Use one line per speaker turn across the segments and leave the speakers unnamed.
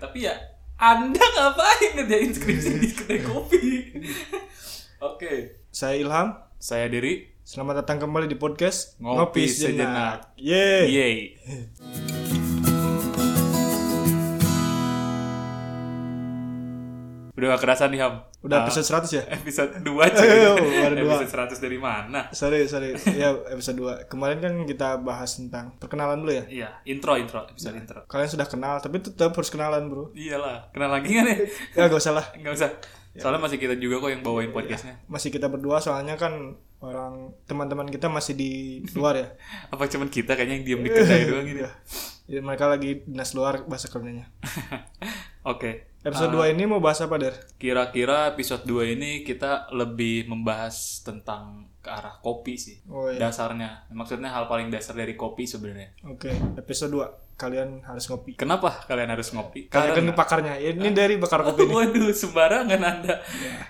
tapi ya anda ngapain ngerjain skripsi di kedai kopi oke
Saya Ilham.
saya Diri
Selamat datang kembali di podcast
Ngopi Sejenak. Iya.
Yeay.
Yeay. Udah gak kerasa nih Ham Ah,
Udah episode 100 ya?
episode 2
Eh, baru dua.
Episode 100 dari mana?
Sorry, sorry. Ya, episode 2. Kemarin kan kita bahas tentang perkenalan dulu ya.
Iya, intro intro episode
Iya.
intro.
Kalian sudah kenal, tapi tetap harus kenalan, Bro.
Iyalah, kenal lagi gak nih?
Ya, gak usah lah.
Enggak usah.
Iya.
Soalnya masih kita juga kok yang bawain podcastnya.
Masih kita berdua soalnya kan orang teman-teman kita masih di luar ya.
Apa cuman kita kayaknya yang diem di kedai doang ini?
Iya.
Oke.
Jadi mereka lagi dinas luar bahasa kerennya.
Ah.
Episode 2 ini mau bahas apa, Der?
Kira-kira episode 2 ini kita lebih membahas tentang ke arah kopi sih.
Oh, iya.
Dasarnya. Maksudnya hal paling dasar dari kopi sebenarnya.
Oke, episode 2. Kalian harus ngopi.
Kenapa kalian Ah. harus ngopi?
Kalian kan
Karena-
pakarnya. Ini Iya. dari bakar kopi nih.
Waduh, sembarangan Anda.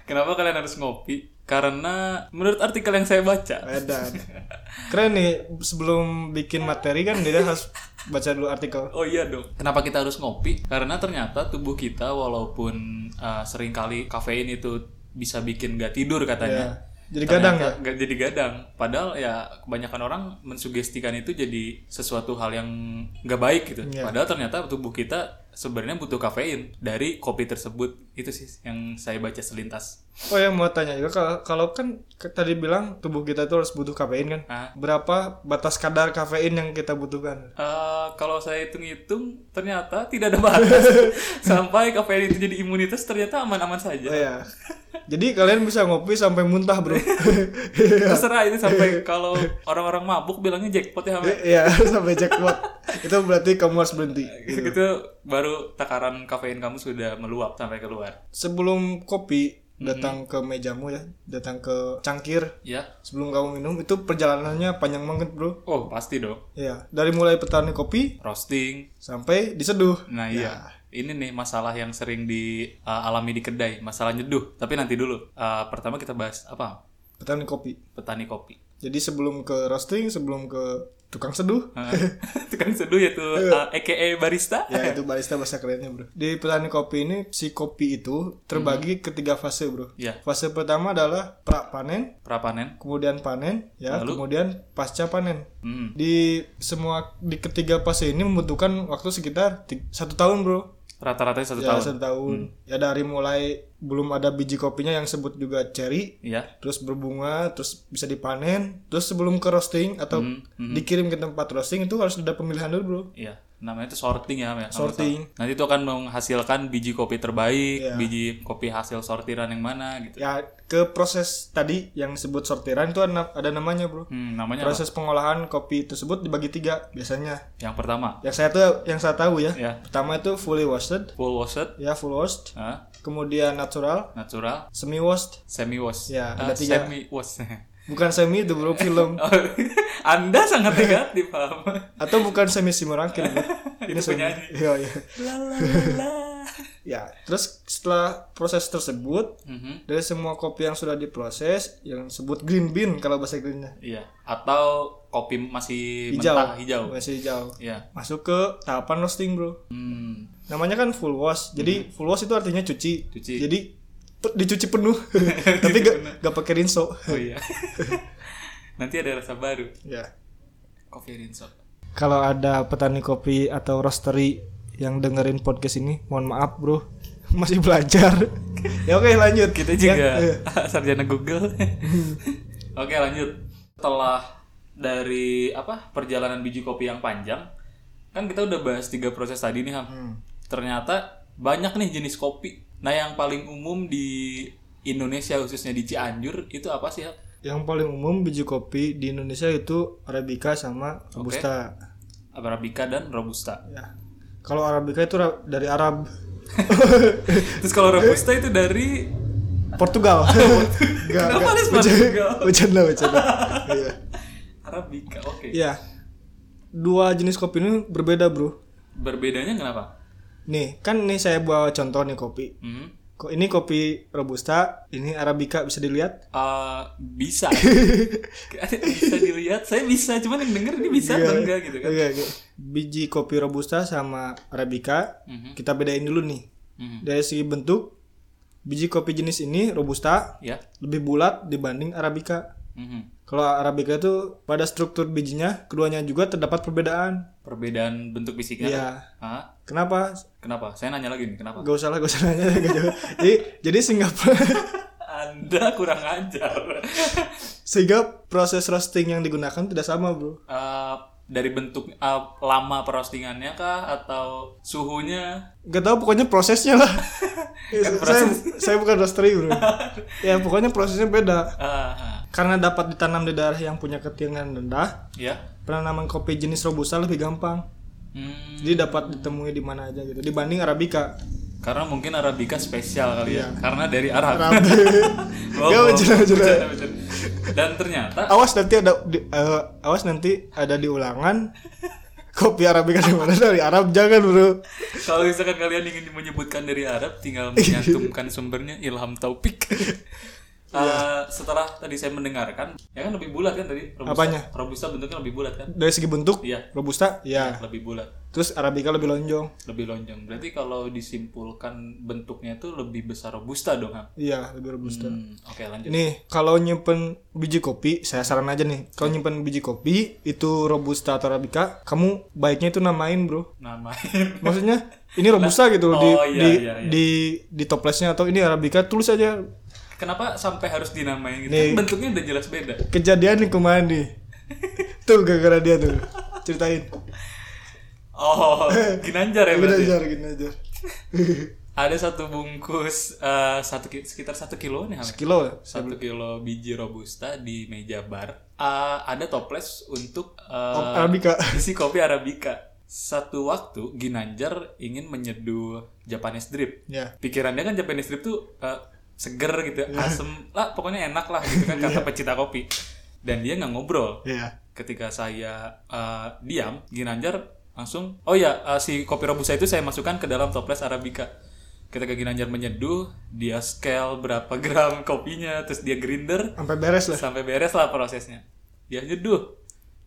Kenapa kalian harus ngopi? Karena menurut artikel yang saya baca,
Edan. Keren nih sebelum bikin materi kan dia harus baca dulu artikel.
Oh iya dong. Kenapa kita harus ngopi? Karena ternyata tubuh kita walaupun uh, seringkali kafein itu bisa bikin gak tidur katanya.
Ya. Jadi gadang ya.
Ternyata nggak jadi gadang. Padahal ya kebanyakan orang mensugestikan itu jadi sesuatu hal yang nggak baik gitu.
Iya.
Padahal ternyata tubuh kita sebenarnya butuh kafein dari kopi tersebut. Itu sih yang saya baca selintas.
Oh ya mau tanya juga kalau, kalau kan ke- tadi bilang tubuh kita itu harus butuh kafein kan.
Ah.
Berapa batas kadar kafein yang kita butuhkan?
Eh, kalau saya hitung-hitung ternyata tidak ada batas sampai kafein itu jadi imunitas ternyata aman-aman saja.
Oh ya. Jadi kalian bisa ngopi sampai muntah, Bro.
Terserah ini sampai kalau orang-orang mabuk bilangnya jackpot ya Hamid.
Iya, sampai jackpot. itu berarti kamu harus berhenti.
Gitu-gitu baru takaran kafein kamu sudah meluap sampai keluar.
Sebelum kopi datang ke mejamu ya, datang ke cangkir.
Ya.
Sebelum kamu minum itu perjalanannya panjang banget, Bro.
Oh, pasti dong.
Iya, dari mulai petani kopi
Roasting.
sampai diseduh.
Nah, iya. Ini nih masalah yang sering dialami di kedai, masalah nyeduh. Tapi nanti dulu. Eh, pertama kita bahas apa?
Petani kopi.
Petani kopi.
Jadi sebelum ke roasting, sebelum ke tukang seduh,
Heeh. Tukang seduh yaitu
Iya.
eh, aka barista.
ya itu barista bahasa kerennya bro. Di petani kopi ini si kopi itu terbagi ke tiga fase
Hmm.
bro.
Iya.
Fase pertama adalah pra panen,
Prapanen.
kemudian panen, ya
Lalu?
kemudian pasca panen.
Hmm.
Di semua di ketiga fase ini membutuhkan waktu sekitar ti- satu tahun bro.
Rata-ratanya satu
Ya
tahun. Hmm.
satu tahun. Ya dari mulai belum ada biji kopinya yang sebut juga cherry,
Iya.
terus berbunga, terus bisa dipanen, terus sebelum ke roasting atau
Hmm,
dikirim ke tempat roasting itu harus ada pemilihan dulu, bro.
Iya, namanya itu sorting ya, Mel.
Sorting.
Nanti itu akan menghasilkan biji kopi terbaik,
Iya.
biji kopi hasil sortiran yang mana gitu.
Ya ke proses tadi yang disebut sortiran itu ada, ada namanya, bro.
Hmm, namanya apa?
Proses pengolahan kopi tersebut dibagi tiga biasanya.
Yang pertama,
Yang saya tuh yang saya tahu ya,
ya,
pertama itu fully washed,
full washed,
ya full washed,
ah,
kemudian natural,
natural,
semi washed,
semi washed.
Ya,
Ah,
ada tiga.
Semi washed.
bukan semi itu bro film
Oh, Anda sangat negatif, paham?
atau bukan semi simurangkir. bro.
Itu
semi.
penyanyi.
Iya, iya.
La, la, la, la.
Ya, terus setelah proses tersebut
Mhm,
dari semua kopi yang sudah diproses yang sebut green bean kalau bahasa Inggrisnya
Iya, atau kopi masih
hijau
mentah hijau.
masih hijau
Iya.
masuk ke tahapan roasting bro
Hmm,
namanya kan full wash jadi full wash itu artinya cuci,
Cuci.
jadi pe- dicuci penuh tapi gak, gak pakai rinso
oh iya. Nanti ada rasa baru,
ya
kopi rinso.
kalau ada petani kopi atau roastery yang dengerin podcast ini mohon maaf bro masih belajar ya oke lanjut Ya. Eh,
kita Gitu juga
Iya,
sarjana Google. Oke lanjut. Setelah dari apa perjalanan biji kopi yang panjang, kan kita udah bahas tiga proses tadi nih Ham. Ternyata banyak nih jenis kopi. Nah yang paling umum di Indonesia khususnya di Cianjur itu apa sih Ham?
yang paling umum biji kopi di Indonesia itu arabica sama robusta
Arabica dan Robusta.
Ya. Kalau Arabica itu ra- dari Arab
Terus kalau Robusta itu dari
Portugal. Enggak,
Kenapa harus Portugal?
Bercanda, bercanda. Iya.
Arabica. Oke.
Iya. Dua jenis kopi ini berbeda, Bro.
Berbedanya kenapa?
Nih, kan nih saya bawa contoh nih kopi.
Hmm.
Kok ini kopi robusta, ini arabica bisa dilihat?
Eh, bisa bisa dilihat saya bisa cuman yang denger ini bisa atau enggak gitu kan
Oke, oke. Iya. Biji kopi robusta sama arabica
Mhm.
kita bedain dulu nih.
Mhm.
Dari segi bentuk, biji kopi jenis ini robusta
ya
lebih bulat dibanding arabica.
Mhm.
Kalau arabica itu pada struktur bijinya keduanya juga terdapat perbedaan.
perbedaan bentuk
Iya.
fisiknya Hah?
Kenapa?
kenapa saya nanya lagi nih kenapa
Gak usah lah, gak usah nanya. gak jauh. jadi, jadi Singapura
anda kurang ajar
Sehingga proses roasting yang digunakan tidak sama, bro.
Eh, dari bentuk eh, lama perostingannya kah atau suhunya
Gak tahu pokoknya prosesnya lah. Ya,
Kan
saya-
proses.
Saya, bukan roastery, bro. ya pokoknya prosesnya beda.
Ah,
Karena dapat ditanam di daerah yang punya ketinggian rendah,
ya
penanaman kopi jenis robusta lebih gampang.
Hmm,
Jadi dapat ditemui di mana aja gitu. Dibanding arabica.
karena mungkin arabica spesial kali ya karena dari Arab Bohong,
Arab. Gak,
bohong.
bercanda, bercanda.
Bercanda, bercanda. dan ternyata
awas nanti ada di- eh, awas nanti ada di ulangan kopi arabica dari mana dari Arab jangan, bro.
kalau misalkan kalian ingin menyebutkan dari Arab tinggal menyantumkan sumbernya Ilham Taufik
Iya.
Eh, setelah tadi saya mendengarkan ya kan lebih bulat kan tadi robusta,
Apanya?
robusta bentuknya lebih bulat kan
Dari segi bentuk,
Iya.
robusta, ya.
lebih bulat
Terus arabica lebih lonjong.
lebih lonjong berarti kalau disimpulkan bentuknya itu lebih besar robusta dong Ham?
Iya, lebih robusta.
Hmm, oke lanjut
Nih, kalau nyimpen biji kopi, saya saran aja nih. Kalau
Iya.
nyimpen biji kopi itu robusta atau arabica, kamu baiknya itu namain, Bro.
namain
Maksudnya ini robusta gitu
oh,
di,
iya, iya,
di,
iya.
di di toplesnya atau ini arabica, tulis aja.
kenapa sampai harus dinamain gitu
Nih.
Kan bentuknya udah jelas beda
Kejadian nih kemarin nih. tuh gara-gara dia tuh. Ceritain.
oh ginanjar ya
Gini
berarti
aja, gini aja.
ada satu bungkus eh, satu ki- sekitar satu kilo nih Hamid.
Sekilo ya?
satu kilo biji robusta di meja bar Eh, ada toples untuk eh,
Kop- arabica.
isi kopi arabica satu waktu Ginanjar ingin menyeduh Japanese drip
Ya.
pikirannya kan Japanese drip tuh eh, seger gitu
Iya.
asem lah pokoknya enak lah gitu kan kata pecinta kopi dan dia nggak ngobrol
Iya.
ketika saya eh, diam Ginanjar langsung oh ya eh, si kopi robusta itu saya masukkan ke dalam toples arabica ketika Ginanjar menyeduh dia scale berapa gram kopinya terus dia grinder
Sampai beres lah.
sampai beres lah prosesnya dia nyeduh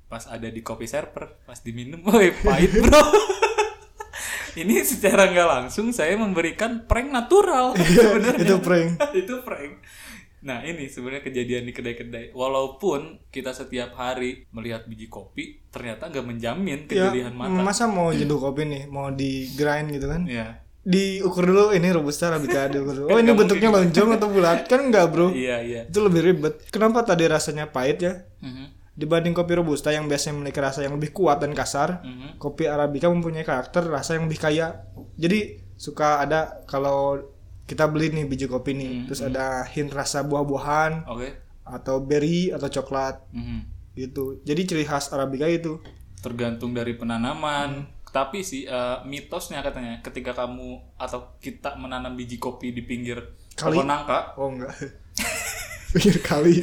pas ada di kopi server pas diminum woi pahit bro ini secara nggak langsung saya memberikan prank natural sebenarnya
Iya, itu prank.
itu prank nah ini sebenarnya kejadian di kedai-kedai walaupun kita setiap hari melihat biji kopi ternyata nggak menjamin
Ya,
kejelian mata
masa mau jenuh kopi nih, mau di grind gitu kan?
Iya.
diukur dulu ini robusta arabica diukur dulu. Oh ini bentuknya lonjong atau bulat kan enggak bro?
gitu. iya iya
Itu lebih ribet. Kenapa tadi rasanya pahit ya?
Mhm,
Dibanding kopi robusta yang biasanya memiliki rasa yang lebih kuat dan kasar,
mhm.
kopi arabica mempunyai karakter rasa yang lebih kaya. Jadi suka ada kalau kita beli nih biji kopi nih,
Mhm.
terus ada hint rasa buah-buahan
oke
atau berry atau coklat
Mhm.
gitu. Jadi ciri khas arabica itu.
tergantung dari penanaman. Tapi sih eh, mitosnya katanya ketika kamu atau kita menanam biji kopi di pinggir
Kali.
pohon nangka,
Oh enggak. Pikir kali.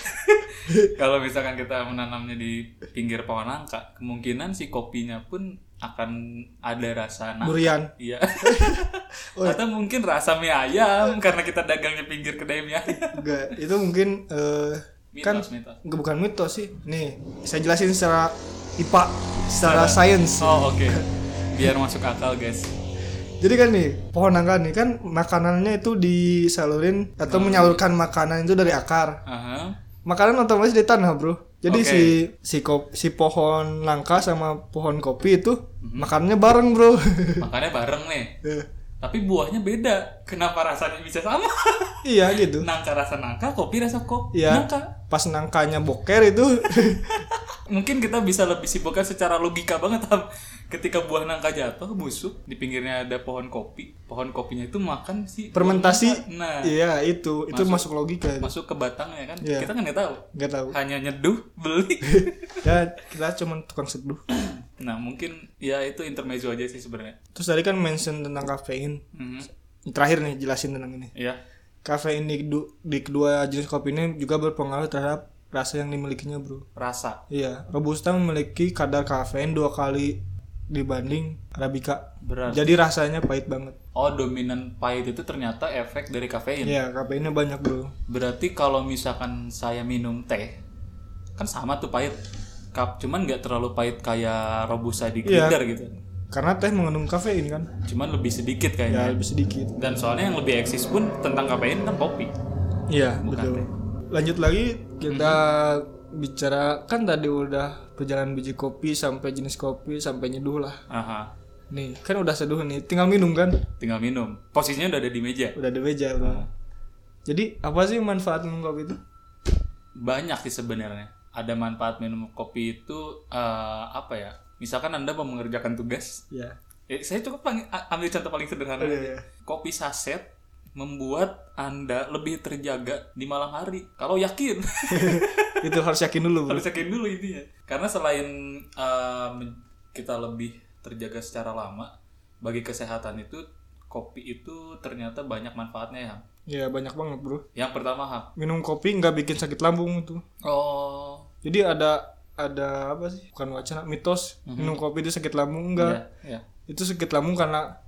kalau misalkan kita menanamnya di pinggir pohon nangka, kemungkinan si kopinya pun akan ada rasa nangka.
Durian.
Iya.
Oh, iya.
Atau mungkin rasa mie ayam karena kita dagangnya pinggir kedai mie ayam.
Enggak, itu mungkin eh, kan
Mitos, mitos.
enggak bukan mitos sih. Nih, saya jelasin secara IPA, secara sains.
Oh, oke. Biar masuk akal, guys.
Jadi kan nih, pohon nangka nih kan makanannya itu disalurin atau
Oh.
menyalurkan makanan itu dari akar.
Aha.
Makanan otomatis di tanah, Bro. Jadi
Oke.
si si kop- si pohon nangka sama pohon kopi itu
Mhm.
makanannya bareng, Bro.
Makannya bareng nih.
Eh,
Tapi buahnya beda. Kenapa rasanya bisa sama?
iya gitu.
nangka rasa nangka, kopi rasa kopi.
Iya.
Nangka.
Pas nangkanya boker itu
Mungkin kita bisa lebih sibukkan secara logika banget Ham. Ketika buah nangka jatuh busuk, di pinggirnya ada pohon kopi. Pohon kopinya itu makan si buah nangka.
fermentasi.
Nah,
Iya, itu. Itu masuk logika.
masuk ke batangnya kan.
Iya.
Kita kan nggak tahu.
Enggak tahu.
Hanya nyeduh, beli.
ya kita cuman tukang seduh
nah, mungkin ya itu intermezzo aja sih sebenarnya.
terus tadi kan mention tentang kafein
Mhm.
terakhir nih jelasin tentang ini
Iya.
kafein di, kedu- di kedua jenis kopi ini juga berpengaruh terhadap rasa yang dimilikinya bro
Rasa.
iya robusta memiliki kadar kafein dua kali dibanding Arabica.
Berat.
Jadi rasanya pahit banget.
Oh, dominan pahit itu ternyata efek dari kafein.
Iya, kafeinnya banyak, Bro.
Berarti kalau misalkan saya minum teh, kan sama tuh pahit. Cup, cuman nggak terlalu pahit kayak robusta di
Iya.
grinder gitu.
Karena teh mengandung kafein kan?
Cuman lebih sedikit
Ya,
kayaknya.
lebih sedikit.
Dan soalnya yang lebih eksis pun tentang kafein kan kopi.
Iya,
Bukan
betul.
teh.
Lanjut lagi kita bicara kan tadi udah perjalanan biji kopi sampai jenis kopi sampai nyeduh lah.
Aha,
Nih, kan udah seduh nih, tinggal minum kan?
tinggal minum. Posisinya udah ada di meja.
Udah di meja, Bro.
Ah.
Jadi, apa sih manfaat minum kopi itu?
banyak sih sebenarnya ada manfaat minum kopi itu eh, apa ya misalkan anda mau mengerjakan tugas
Ya.
eh, saya cukup pang- a- ambil contoh paling sederhana
Iya, iya.
kopi saset membuat anda lebih terjaga di malam hari kalau yakin
itu harus yakin dulu, Bro.
harus yakin dulu intinya karena selain eh, men- kita lebih terjaga secara lama bagi kesehatan itu kopi itu ternyata banyak manfaatnya ya Ham.
Iya, banyak banget, Bro.
yang pertama Ham.
Minum kopi nggak bikin sakit lambung itu.
oh
Jadi ada ada apa sih? Bukan wacana, mitos
Mm-hmm.
minum kopi itu sakit lambung enggak.
ya, ya.
Itu sakit lambung karena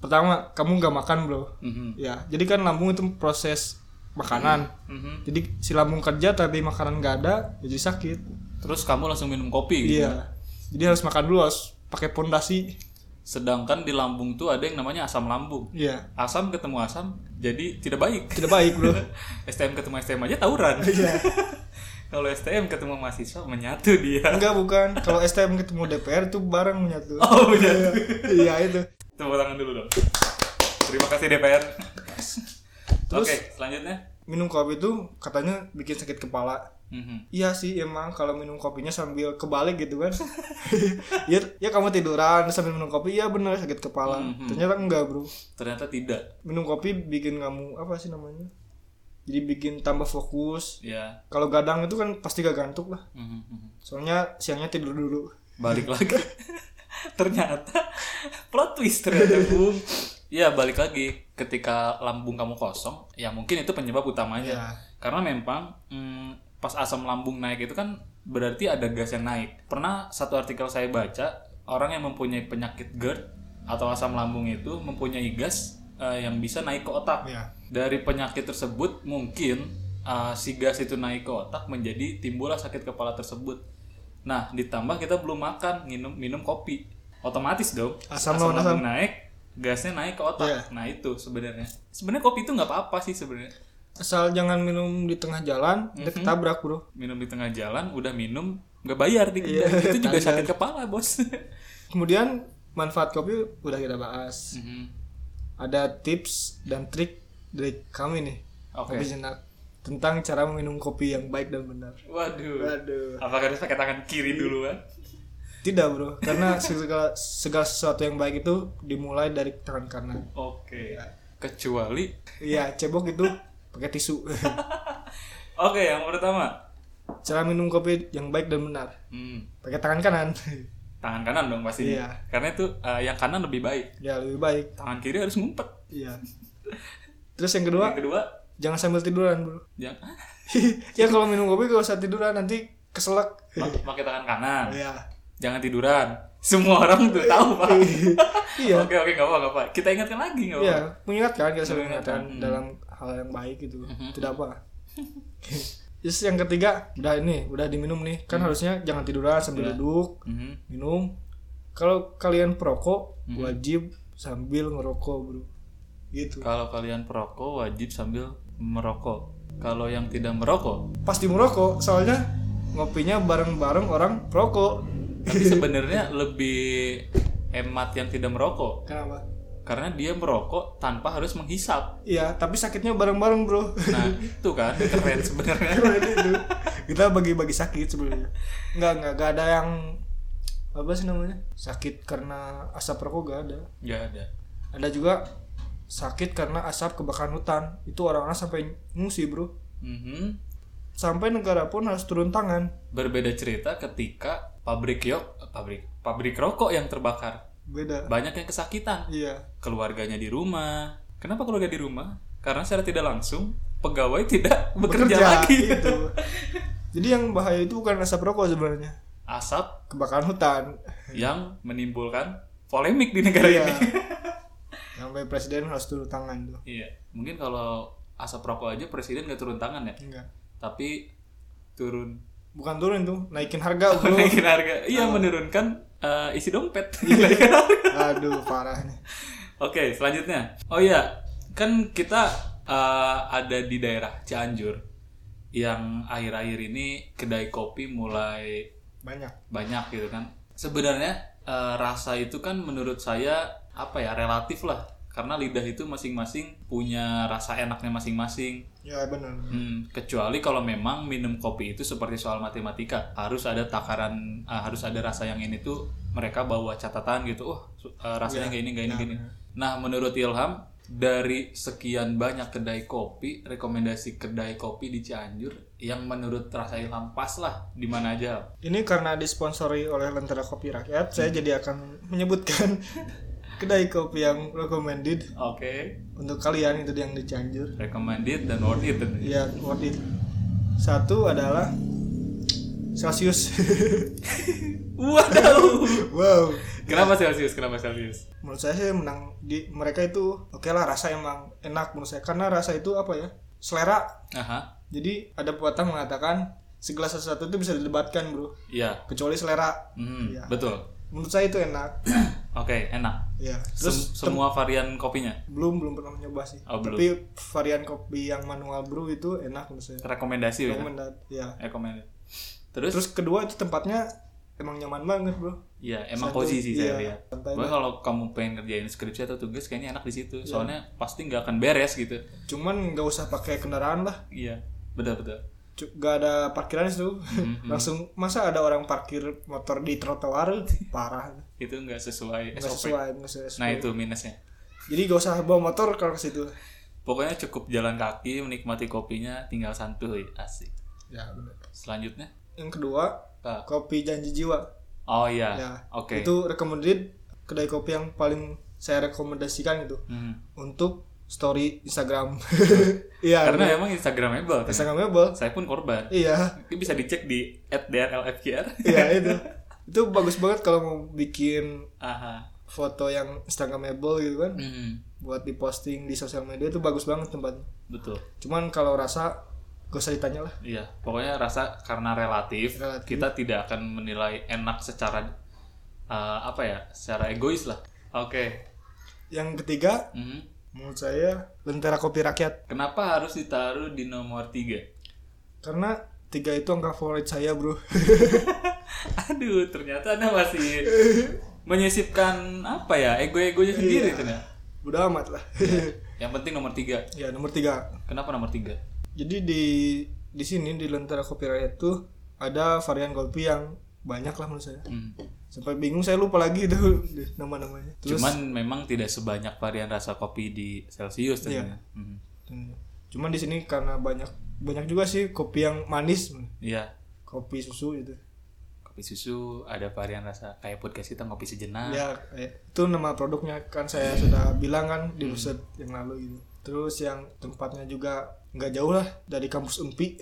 pertama kamu nggak makan, Bro.
Mhm.
Ya, jadi kan lambung itu proses makanan.
Mhm.
Jadi si lambung kerja tapi makanan nggak ada, ya jadi sakit.
terus kamu langsung minum kopi gitu
Iya. Jadi harus makan dulu, harus pakai pondasi.
Sedangkan di lambung tuh ada yang namanya asam lambung.
Iya.
Asam ketemu asam jadi tidak baik.
Tidak baik, Bro.
STM ketemu STM aja tawuran.
Iya.
Kalau STM ketemu mahasiswa menyatu dia.
Enggak bukan. Kalau STM ketemu DPR tuh bareng menyatu.
Oh menyatu.
Iya itu.
Tepuk tangan dulu dong. Terima kasih DPR. Oke, selanjutnya.
Minum kopi tuh katanya bikin sakit kepala.
Mhm.
Iya sih emang kalau minum kopinya sambil kebalik gitu kan. ya, ya kamu tiduran sambil minum kopi, iya bener sakit kepala. Ternyata enggak, Bro.
Ternyata tidak.
Minum kopi bikin kamu apa sih namanya? Jadi bikin tambah fokus.
Ya.
Kalau gadang itu kan pasti gak gantuk lah.
Mhm.
Soalnya siangnya tidur dulu.
Balik lagi. ternyata plot twist ternyata Bung. Ya balik lagi ketika lambung kamu kosong, ya mungkin itu penyebab utamanya. karena memang mm, pas asam lambung naik itu kan berarti ada gas yang naik pernah satu artikel saya baca orang yang mempunyai penyakit GERD atau asam lambung itu mempunyai gas eh, yang bisa naik ke otak
Iya.
dari penyakit tersebut mungkin uh, si gas itu naik ke otak menjadi timbullah sakit kepala tersebut. Nah, ditambah kita belum makan, minum minum kopi. Otomatis dong.
Asam lawan
lambung naik, gasnya naik ke otak.
Iya.
Nah, itu sebenarnya. Sebenarnya kopi itu nggak apa-apa sih sebenarnya.
Asal jangan minum di tengah jalan, dia ketabrak, Bro.
Minum di tengah jalan, udah minum, nggak bayar di kedai.
Iya.
Itu juga sakit kepala, Bos.
Kemudian manfaat kopi udah kita bahas.
Mhm.
Ada tips dan trik dari kami nih.
Oke.
Kopi Jenak tentang cara minum kopi yang baik dan benar.
Waduh.
Waduh.
Apakah harus pakai tangan kiri duluan?
Tidak, Bro. Karena segala, segala sesuatu yang baik itu dimulai dari tangan kanan.
Oke. Kecuali
Iya, cebok itu pakai tisu.
Oke, yang pertama.
cara minum kopi yang baik dan benar.
Hmm.
Pakai tangan kanan.
tangan kanan dong pasti
Iya.
karena itu eh, yang kanan lebih baik
ya, lebih baik.
tangan kiri harus ngumpet
Iya. Terus yang kedua,
yang kedua
jangan sambil tiduran, Bro.
jangan
ya kalau minum kopi gak usah tiduran nanti keselak.
Mak- pakai tangan kanan
Iya.
jangan tiduran semua orang tuh tahu pak
Iya.
oke oke nggak apa nggak apa kita ingatkan lagi nggak apa
Iya, mengingatkan kita selalu
Mengingatkan,
mengingatkan dalam hal yang baik gitu. Tidak apa. Terus yang ketiga, udah ini, udah diminum nih. Kan harusnya jangan tiduran sambil duduk,
Mhm.
minum. Kalau kalian perokok, wajib sambil ngerokok, Bro. Gitu.
kalau kalian perokok wajib sambil merokok kalau yang tidak merokok
Pasti merokok, soalnya ngopinya bareng-bareng orang perokok.
tapi sebenarnya lebih hemat yang tidak merokok
Kenapa?
karena dia merokok tanpa harus menghisap
Iya, tapi sakitnya bareng-bareng, Bro.
nah itu kan keren sebenarnya
Kemarin itu kita bagi-bagi sakit sebenarnya nggak nggak nggak ada yang apa sih namanya sakit karena asap rokok nggak ada
nggak Ya, ada
ada juga sakit karena asap kebakaran hutan itu orang-orang sampai ngungsi bro
Mhm.
sampai negara pun harus turun tangan
Berbeda cerita ketika pabrik yok, pabrik pabrik rokok yang terbakar.
beda
Banyak yang kesakitan.
iya
Keluarganya di rumah. Kenapa keluarga di rumah? Karena secara tidak langsung pegawai tidak bekerja, lagi.
gitu. jadi yang bahaya itu bukan asap rokok sebenarnya
asap
kebakaran hutan
yang menimbulkan polemik di negara
Iya.
ini.
sampai presiden harus turun tangan tuh
Iya, mungkin kalau asap rokok aja presiden nggak turun tangan ya,
enggak
tapi turun
bukan turun tuh naikin harga bro
Oh, naikin harga. Iya, menurunkan eh, isi dompet. Naikin
Iya.
harga.
aduh parah nih
Oke, selanjutnya. Oh iya, kan kita eh, ada di daerah Cianjur yang akhir-akhir ini kedai kopi mulai
banyak
banyak gitu kan. Sebenarnya eh, rasa itu kan menurut saya apa ya relatif lah karena lidah itu masing-masing punya rasa enaknya masing-masing.
ya benar
Hmm, kecuali kalau memang minum kopi itu seperti soal matematika, harus ada takaran, ah, harus ada rasa yang ini tuh mereka bawa catatan gitu. Oh, su- eh, rasanya kayak ini, kayak ini, kayak ini. Nah, menurut Ilham dari sekian banyak kedai kopi, rekomendasi kedai kopi di Cianjur yang menurut rasa Ilham pas lah di mana aja.
ini karena disponsori oleh Lentera Kopi Rakyat saya
Hmm.
jadi akan menyebutkan kedai kopi yang recommended
Oke,
untuk kalian itu yang di Cianjur
recommended dan worth it. tentunya.
ya worth it satu adalah Celsius
Waduh.
wow
Kenapa Celsius? Kenapa Celsius?
menurut saya sih menang di mereka itu oke lah rasa emang enak menurut saya karena rasa itu apa ya selera
Aha.
jadi ada pepatah mengatakan segelas sesuatu itu bisa didebatkan bro
Iya.
kecuali selera
Hmm,
Iya.
betul.
menurut saya itu enak
Oke, enak.
ya
Sem-
terus
semua varian kopinya
belum belum pernah mencoba sih
Oh, belum.
tapi varian kopi yang manual brew itu enak menurut saya
rekomendasi ya
Recommended, ya
rekomendasi terus,
terus kedua itu tempatnya emang nyaman banget bro
ya emang
satu-
posisi
iya,
saya lihat
santai
Pokoknya kalau kamu pengen ngerjain skripsi atau tugas kayaknya enak di situ soalnya pasti nggak akan beres gitu
cuman nggak usah pakai kendaraan lah
iya betul betul
Cu- nggak ada parkiran itu
Mm-hmm.
langsung masa ada orang parkir motor di trotoar parah
itu nggak sesuai
nggak
SOP
sesuai nggak sesuai
nah itu minusnya
jadi nggak usah bawa motor kalau ke situ
pokoknya cukup jalan kaki menikmati kopinya tinggal santuy asik
ya benar
selanjutnya Ah,
yang kedua
Pak.
kopi janji jiwa
oh iya
Ya,
oke
itu recommended kedai kopi yang paling saya rekomendasikan itu
Hmm.
untuk story Instagram iya
karena emang instagramable kan?
Instagramable
saya pun korban
iya
Ini bisa dicek di @drlfqr
iya itu itu bagus banget kalau mau bikin
aha
foto yang Instagramable gitu kan
Hmm,
buat diposting di sosial media itu bagus banget tempatnya
betul
cuman kalau rasa gak usah ditanya lah
Iya, pokoknya rasa karena relatif,
Relatif.
kita tidak akan menilai enak secara eh, apa ya, secara egois lah. Oke.
yang ketiga
Mhm.
menurut saya lentera kopi rakyat
Kenapa harus ditaruh di nomor tiga?
karena tiga itu angka favorit saya bro
Aduh, ternyata anda masih menyisipkan apa ya, ego-egonya
Iya.
sendiri ternyata.
udah amat lah
Yang penting nomor tiga.
ya nomor tiga
Kenapa nomor tiga?
jadi di di sini di lentera kopi rakyat tuh ada varian kopi yang banyak lah menurut saya
Hmm.
sampai bingung saya lupa lagi itu nama-namanya terus
Cuman memang tidak sebanyak varian rasa kopi di
Iya.
Celsius ternyata. Mhm.
Hmm. cuman di sini karena banyak banyak juga sih kopi yang manis
Iya.
kopi susu gitu
Kopi susu ada varian rasa kayak podcast kita ngopi sejenak.
ya kayak- itu nama produknya kan saya sudah bilang kan di episode yang lalu gitu terus yang tempatnya juga nggak jauh lah dari kampus Unpi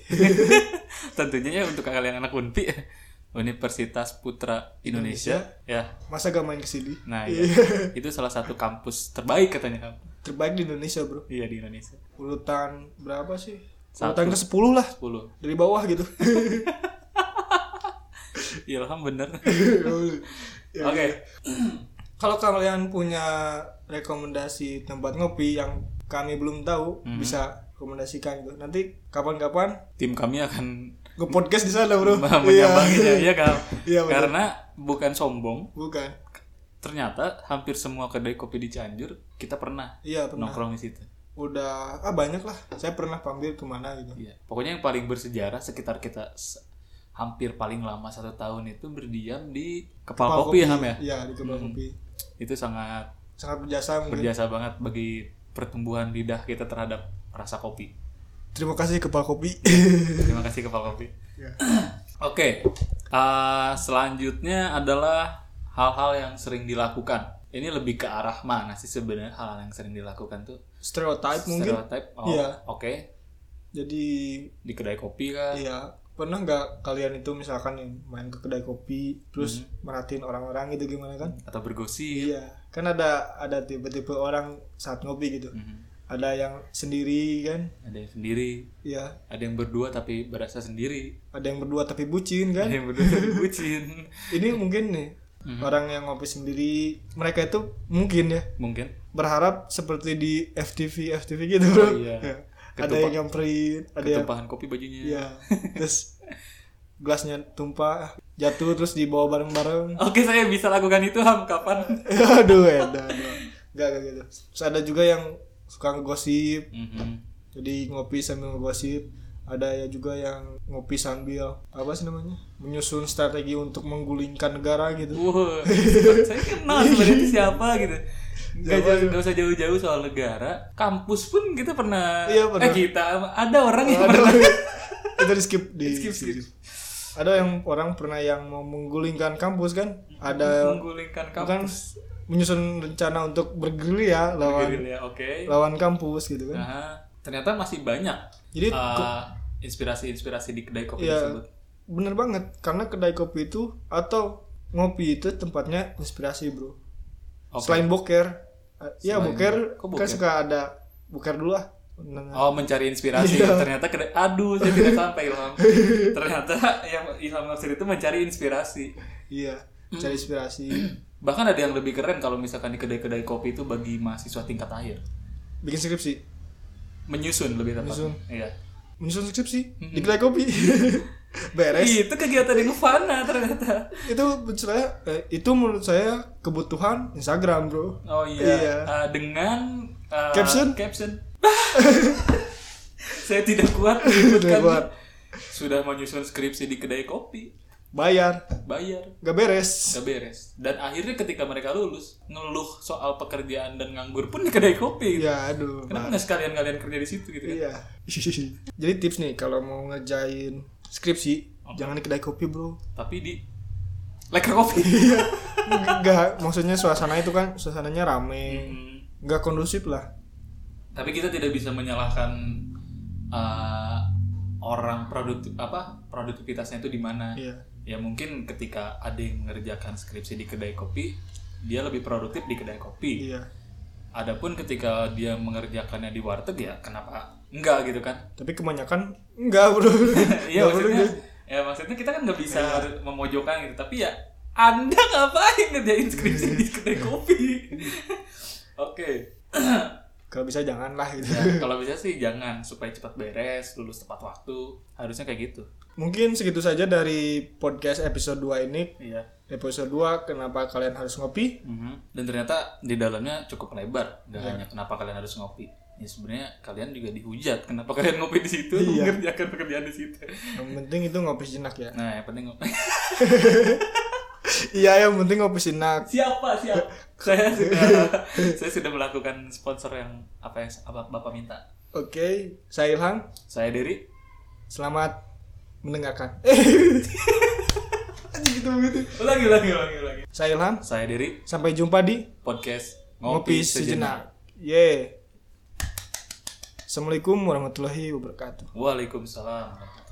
Tentunya ya untuk kalian anak Unpi Universitas Putra Indonesia, ya.
masa gak main kesini
Nah, iya. itu salah satu kampus terbaik katanya kamu.
terbaik di Indonesia bro
Iya di Indonesia.
urutan berapa sih
Satu.
urutan ke 10 lah
10.
dari bawah gitu
Ilham bener.
Iya, Ya.
Iya, Oke.
kalau kalian punya rekomendasi tempat ngopi yang kami belum tahu
Mhm.
bisa rekomendasikan gitu nanti kapan-kapan
Tim kami akan
ke podcast di sana bro
menyambanginya ya Kak.
Iya, bener.
Karena bukan sombong,
bukan
ternyata hampir semua kedai kopi di Cianjur kita pernah
iya pernah
nongkrong di situ.
udah ah banyak lah saya pernah pamer kemana gitu
Iya. Pokoknya yang paling bersejarah sekitar kita se- hampir paling lama satu tahun itu berdiam di Kepal,
Kepal
Kopi, ya, Ham ya.
iya di kebab kopi
Itu sangat
sangat berjasa mungkin.
berjasa banget bagi pertumbuhan lidah kita terhadap rasa kopi.
terima kasih kebab kopi
Terima kasih kepala kopi.
Ya.
Oke, eh, selanjutnya adalah hal-hal yang sering dilakukan. Ini lebih ke arah mana sih sebenarnya hal yang sering dilakukan tuh?
stereotype mungkin
Stereotip. Oh,
Iya.
oke.
jadi
Di kedai kopi kan.
ya pernah nggak kalian itu misalkan yang main ke kedai kopi terus merhatiin orang-orang gitu gimana kan
atau bergosip
iya kan ada ada tipe-tipe orang saat ngopi gitu
Mhm.
ada yang sendiri kan
ada yang sendiri
ya
ada yang berdua tapi berasa sendiri
ada yang berdua tapi bucin kan
ada yang berdua tapi bucin
ini mungkin nih orang yang ngopi sendiri mereka itu mungkin ya
mungkin
berharap seperti di FTV FTV gitu bro
iya.
Ya. ada
Ketupat-
yang nyamperin ada yang
ketumpahan kopi bajunya
ya terus gelasnya tumpah jatuh terus dibawa bareng-bareng
oke saya bisa lakukan itu ham kapan
aduh eh, edan enggak enggak gitu terus ada juga yang suka ngegosip
Mhm.
jadi ngopi sambil ngegosip ada ya juga yang ngopi sambil apa sih namanya menyusun strategi untuk menggulingkan negara gitu
Wah, saya kenal sebenarnya itu siapa gitu. Gak,
Siapa
jauh, nggak usah jauh-jauh soal negara. Kampus pun kita pernah.
Iya, pernah.
Eh, kita ada orang yang
Aduh,
pernah.
itu di skip di
Skip, skip.
ada yang orang pernah yang mau menggulingkan kampus kan ada
menggulingkan
bukan
kampus.
menyusun rencana untuk bergerilya lawan
Gerilya, Gitu, ya, Oke.
lawan kampus gitu kan
Nah, ternyata masih banyak.
Jadi,
eh, inspirasi-inspirasi di kedai kopi
ya
tersebut.
bener banget karena kedai kopi itu atau ngopi itu tempatnya inspirasi bro
Oke.
selain boker eh, ya
Selain-
boker,
kok
kan
boker?
suka ada boker dulu lah Nah,
Oh mencari inspirasi
Iya.
ternyata kedai aduh saya tidak sampai Ilham ternyata yang Ilham Nafsir itu mencari inspirasi
iya cari inspirasi
bahkan ada yang lebih keren kalau misalkan di kedai-kedai kopi itu bagi mahasiswa tingkat akhir
bikin skripsi
menyusun lebih tepat
Menyusun.
iya
menyusun skripsi di kedai kopi beres
Ih, itu kegiatan yang fana ternyata
itu menurut saya eh, itu menurut saya kebutuhan Instagram bro
oh iya,
Iya.
Eh, dengan eh,
Caption?
caption saya tidak kuat
Tidak
menyebutkan
kuat.
sudah menyusun skripsi di kedai kopi
bayar
bayar
nggak beres
gak beres dan akhirnya ketika mereka lulus ngeluh soal pekerjaan dan nganggur pun di kedai kopi gitu.
ya aduh
kenapa nggak sekalian kalian kerja di situ gitu kan
iya jadi tips nih kalau mau ngerjain skripsi
Oh.
jangan di kedai kopi bro
tapi di leker kopi
nggak maksudnya suasana itu kan suasananya rame
Iya. Hmm.
nggak kondusif lah
tapi kita tidak bisa menyalahkan uh, orang produktif apa produktivitasnya itu di mana
iya
ya mungkin ketika ada yang mengerjakan skripsi di kedai kopi dia lebih produktif di kedai kopi
iya
adapun ketika dia mengerjakannya di warteg ya kenapa enggak gitu kan
tapi kebanyakan enggak bro
iya
Nggak perlu
maksudnya
gitu.
ya maksudnya kita kan nggak bisa memojokkan gitu tapi ya anda ngapain ngerjain skripsi di kedai kopi oke
kalau bisa jangan lah gitu
Ya, kalau bisa sih jangan supaya cepat beres, lulus tepat waktu. Harusnya kayak gitu.
mungkin segitu saja dari podcast episode 2 ini
Iya.
episode 2 kenapa kalian harus ngopi
Mhm. Dan ternyata di dalamnya cukup lebar, nggak hanya kenapa kalian harus ngopi. Ya sebenarnya kalian juga dihujat kenapa kalian ngopi di situ, mengerjakan pekerjaan di situ.
yang penting itu ngopi sejenak ya
Nah, yang penting ngopi.
Iya yang penting ngopi sinak
siapa siapa? saya sudah saya sudah melakukan sponsor yang apa yang apa Bapak minta.
Oke Saya Ilham
Saya Diri.
Selamat mendengarkan Anjing, gitu begitu
Ulangi, ulangi, ulangi, ulangi.
Saya Ilham
Saya Diri,
Sampai jumpa di
podcast Ngopi,
Ngopi,
Sejenak.
Sejenak Yeay Assalamualaikum warahmatullahi wabarakatuh
Waalaikumsalam.